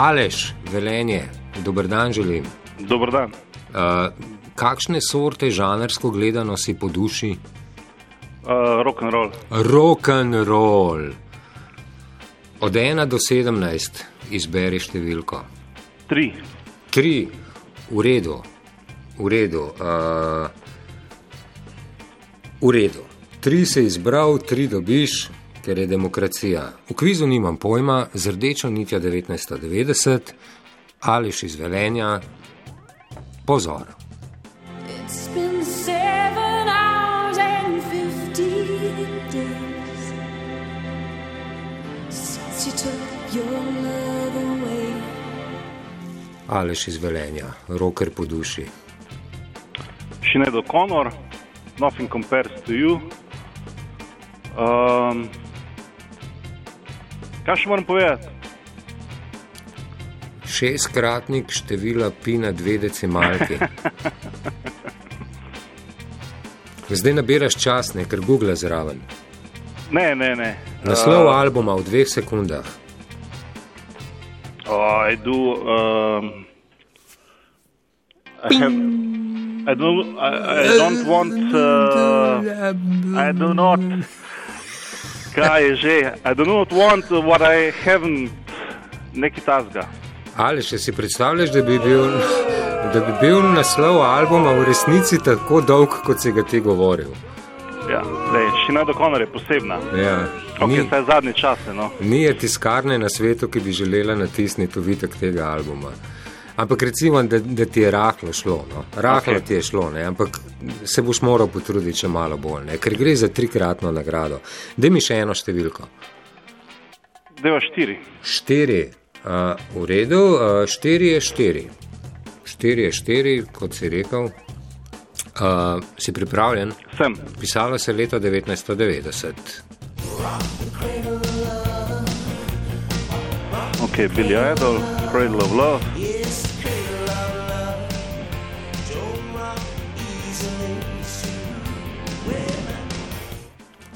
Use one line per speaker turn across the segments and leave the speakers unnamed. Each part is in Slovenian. Alež, velenje, dober dan želim.
Dobro dan.
Uh, kakšne sorte žanrsko gledano si po duši?
Uh, rock and roll.
Rock and roll. Od 1 do 17 izberi številko.
Tri.
Tri, v redu, v redu. Uh, v redu. Tri si izbral, tri dobiš, ker je demokracija. V kvizu nimam pojma, z rdečo nitjo 1990 ali še iz velenja. Pozor.
It's been seven hours and fifteen days since you took your love away.
ali še iz velenja, roker po duši.
Še ne do Conor, nothing compares to you. Um, kaj še moram povedati?
Šestkratnik števila pi na dve decimalki. Zdaj nabiraš čas, ne ker Google zraven.
Ne, ne, ne.
Naslov albuma v dveh sekundah.
Uh, I do. Um, I have. I do. I, I don't want. Uh, I do not. Kaj je že? I do not want what I haven't. Nekaj tasga.
Ali še si predstavljaš, da bi bil, da bi bil naslov albuma v resnici tako dolg, kot si ga ti govoril?
Ja, lej, še ne do Conor je posebna.
Ja,
Ok,
ni,
saj zadnji čas je. No.
Ni je tiskarne na svetu, ki bi želela natisniti uvitek tega albuma. Ampak recimo, da, da ti je rahlo šlo, no. rahlo okay.
Ok.
ti je šlo, ne? ampak se boš moral potruditi še malo bolj, ne? ker gre za trikratno nagrado. Da mi še eno številko.
Deva štiri.
Štiri, uh, v redu, uh, štiri je štiri. Štiri je štiri, kot si rekel. Uh, si pripravljen?
Sem.
Pisalo se je leta 1990.
Ok, Billy Idol, Cradle of Love.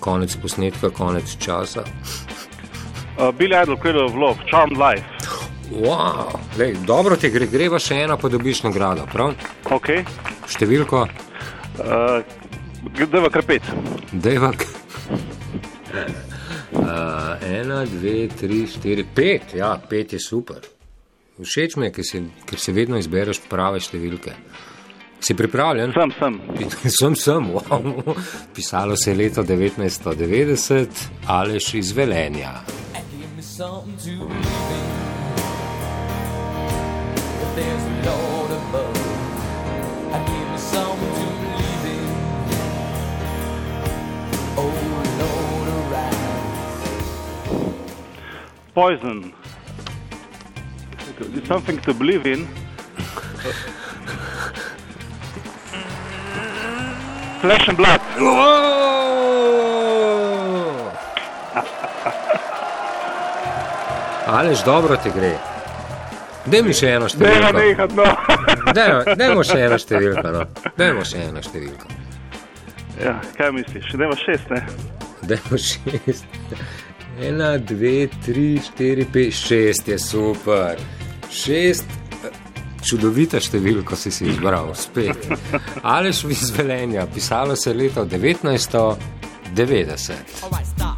Konec posnetka, konec časa.
Uh, Billy Idol, Cradle of Love, Charmed Life.
Wow, lej, dobro ti gre, greva še eno, pa dobiš nagrado. Prav?
Ok. eh,
Številko,
Uh, Deva kar pet.
devak. Uh, ena, dve, tri, štiri, pet. Ja, pet je super. Všeč mi je, ker si, ker si vedno izbereš prave številke. Si pripravljen?
Sem, sem.
Sem, sem, wow. Pisalo se je leta 1990, Aleš iz Velenja.
Give me something to believe in. That there's a Lord above. I give me something to believe in. Oh Lord, arise.
Poison. It's something to believe in. Eh. Flesh and blood.
Aleš, dobro ti gre. Dej mi še eno
Deva
številko.
nehat, no.
Dajmo- Dajmo še eno številko. No. Dajmo še eno številko.
ja, kaj misliš? Deva šest, ne?
Dajmo šest. Ena, dve, tri, štiri, pet, šest je super. Šest, eh, čudovita številka si, si izbral, spet. Aleš iz Velenja, pisalo se je leto 1990.
Alright, stop.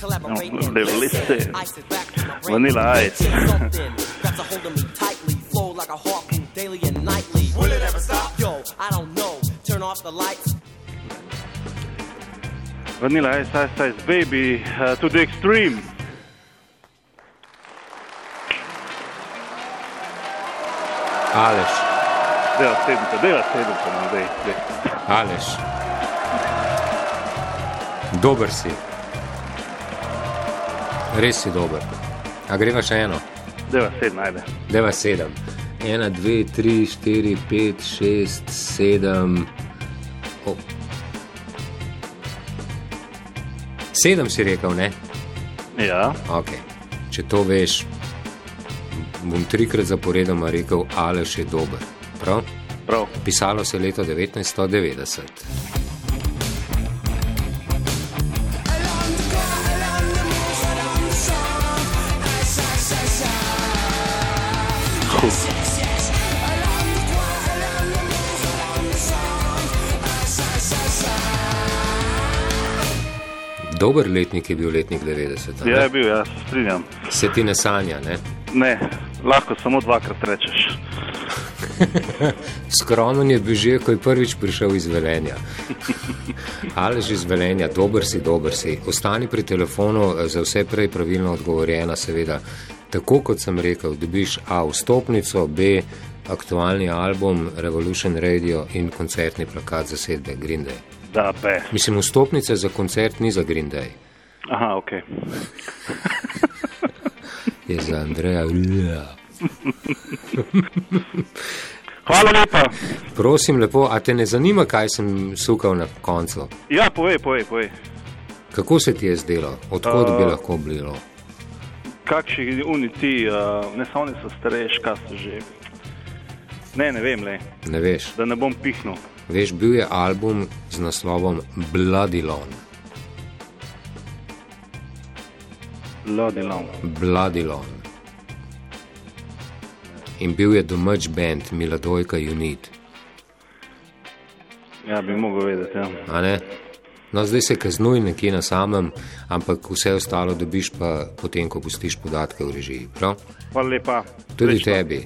Collaborate
No,
and
they
listen.
listen.
I sit back to my brain.
Vanilla Ice.
Something grabs a hold of me tightly. Flow like a hawk move daily and nightly. Will it ever stop? Yo, I don't know. Turn off the lights.
Vanilla Ice Ice Ice Baby uh, to the extreme.
Aleš,
Deva sedmica, deva sedmica, no, dej, dej.
Aleš. Dober si. Res si dober. A greva še eno?
Deva sedm, najde.
Deva sedem. Ena, dve, tri, štiri, pet, šest, sedem. Oh. Sedem si rekel, ne?
Ja.
Okay. Če to veš, bom trikrat zaporedoma rekel, ali še dober. Prav?
Prav.
Pisalo se je leto 1990.
Kiss.
Dober letnik je bil letnik 90. a ne?
Ja, je bil, jaz se strinjam.
Se ti ne sanja, ne?
Ne, lahko samo dvakrat rečeš.
Skromen je bil že, ko je prvič prišel iz Velenja. Ali že iz Velenja, dober si, dober si. Ostani pri telefonu, eh, za vse prej pravilno odgovorjena, seveda. Tako kot sem rekel, dobiš A vstopnico, B aktualni album Revolution Radio in koncertni plakat zasedbe Green Day.
Da, be.
Mislim, vstopnice za koncert ni za Green Day,
Aha, ok.
je za Andreja Ulja.
Hvala lepa.
Prosim lepo, a te ne zanima, kaj sem sukal na koncu?
Ja, povej, povej, povej.
Kako se ti je zdelo, odkot bi lahko bilo?
Kakšni oni ti, uh, ne samo oni so starejši, kaj so že. Ne, ne vem, le,
Ne veš.
da ne bom pihnil.
Veš, bil je album z naslovom Bladilon.
Lodilom.
Bladilon. In bil je domač bend Miladojka Unit.
Ja, bi mogel vedeti. Ja.
a ne? No, zdaj se kaznuj nekje na samem, ampak vse ostalo dobiš pa potem, ko pustiš podatke v režiji. Prav?
Hvala lepa.
Tudi
Srečno.
tebi.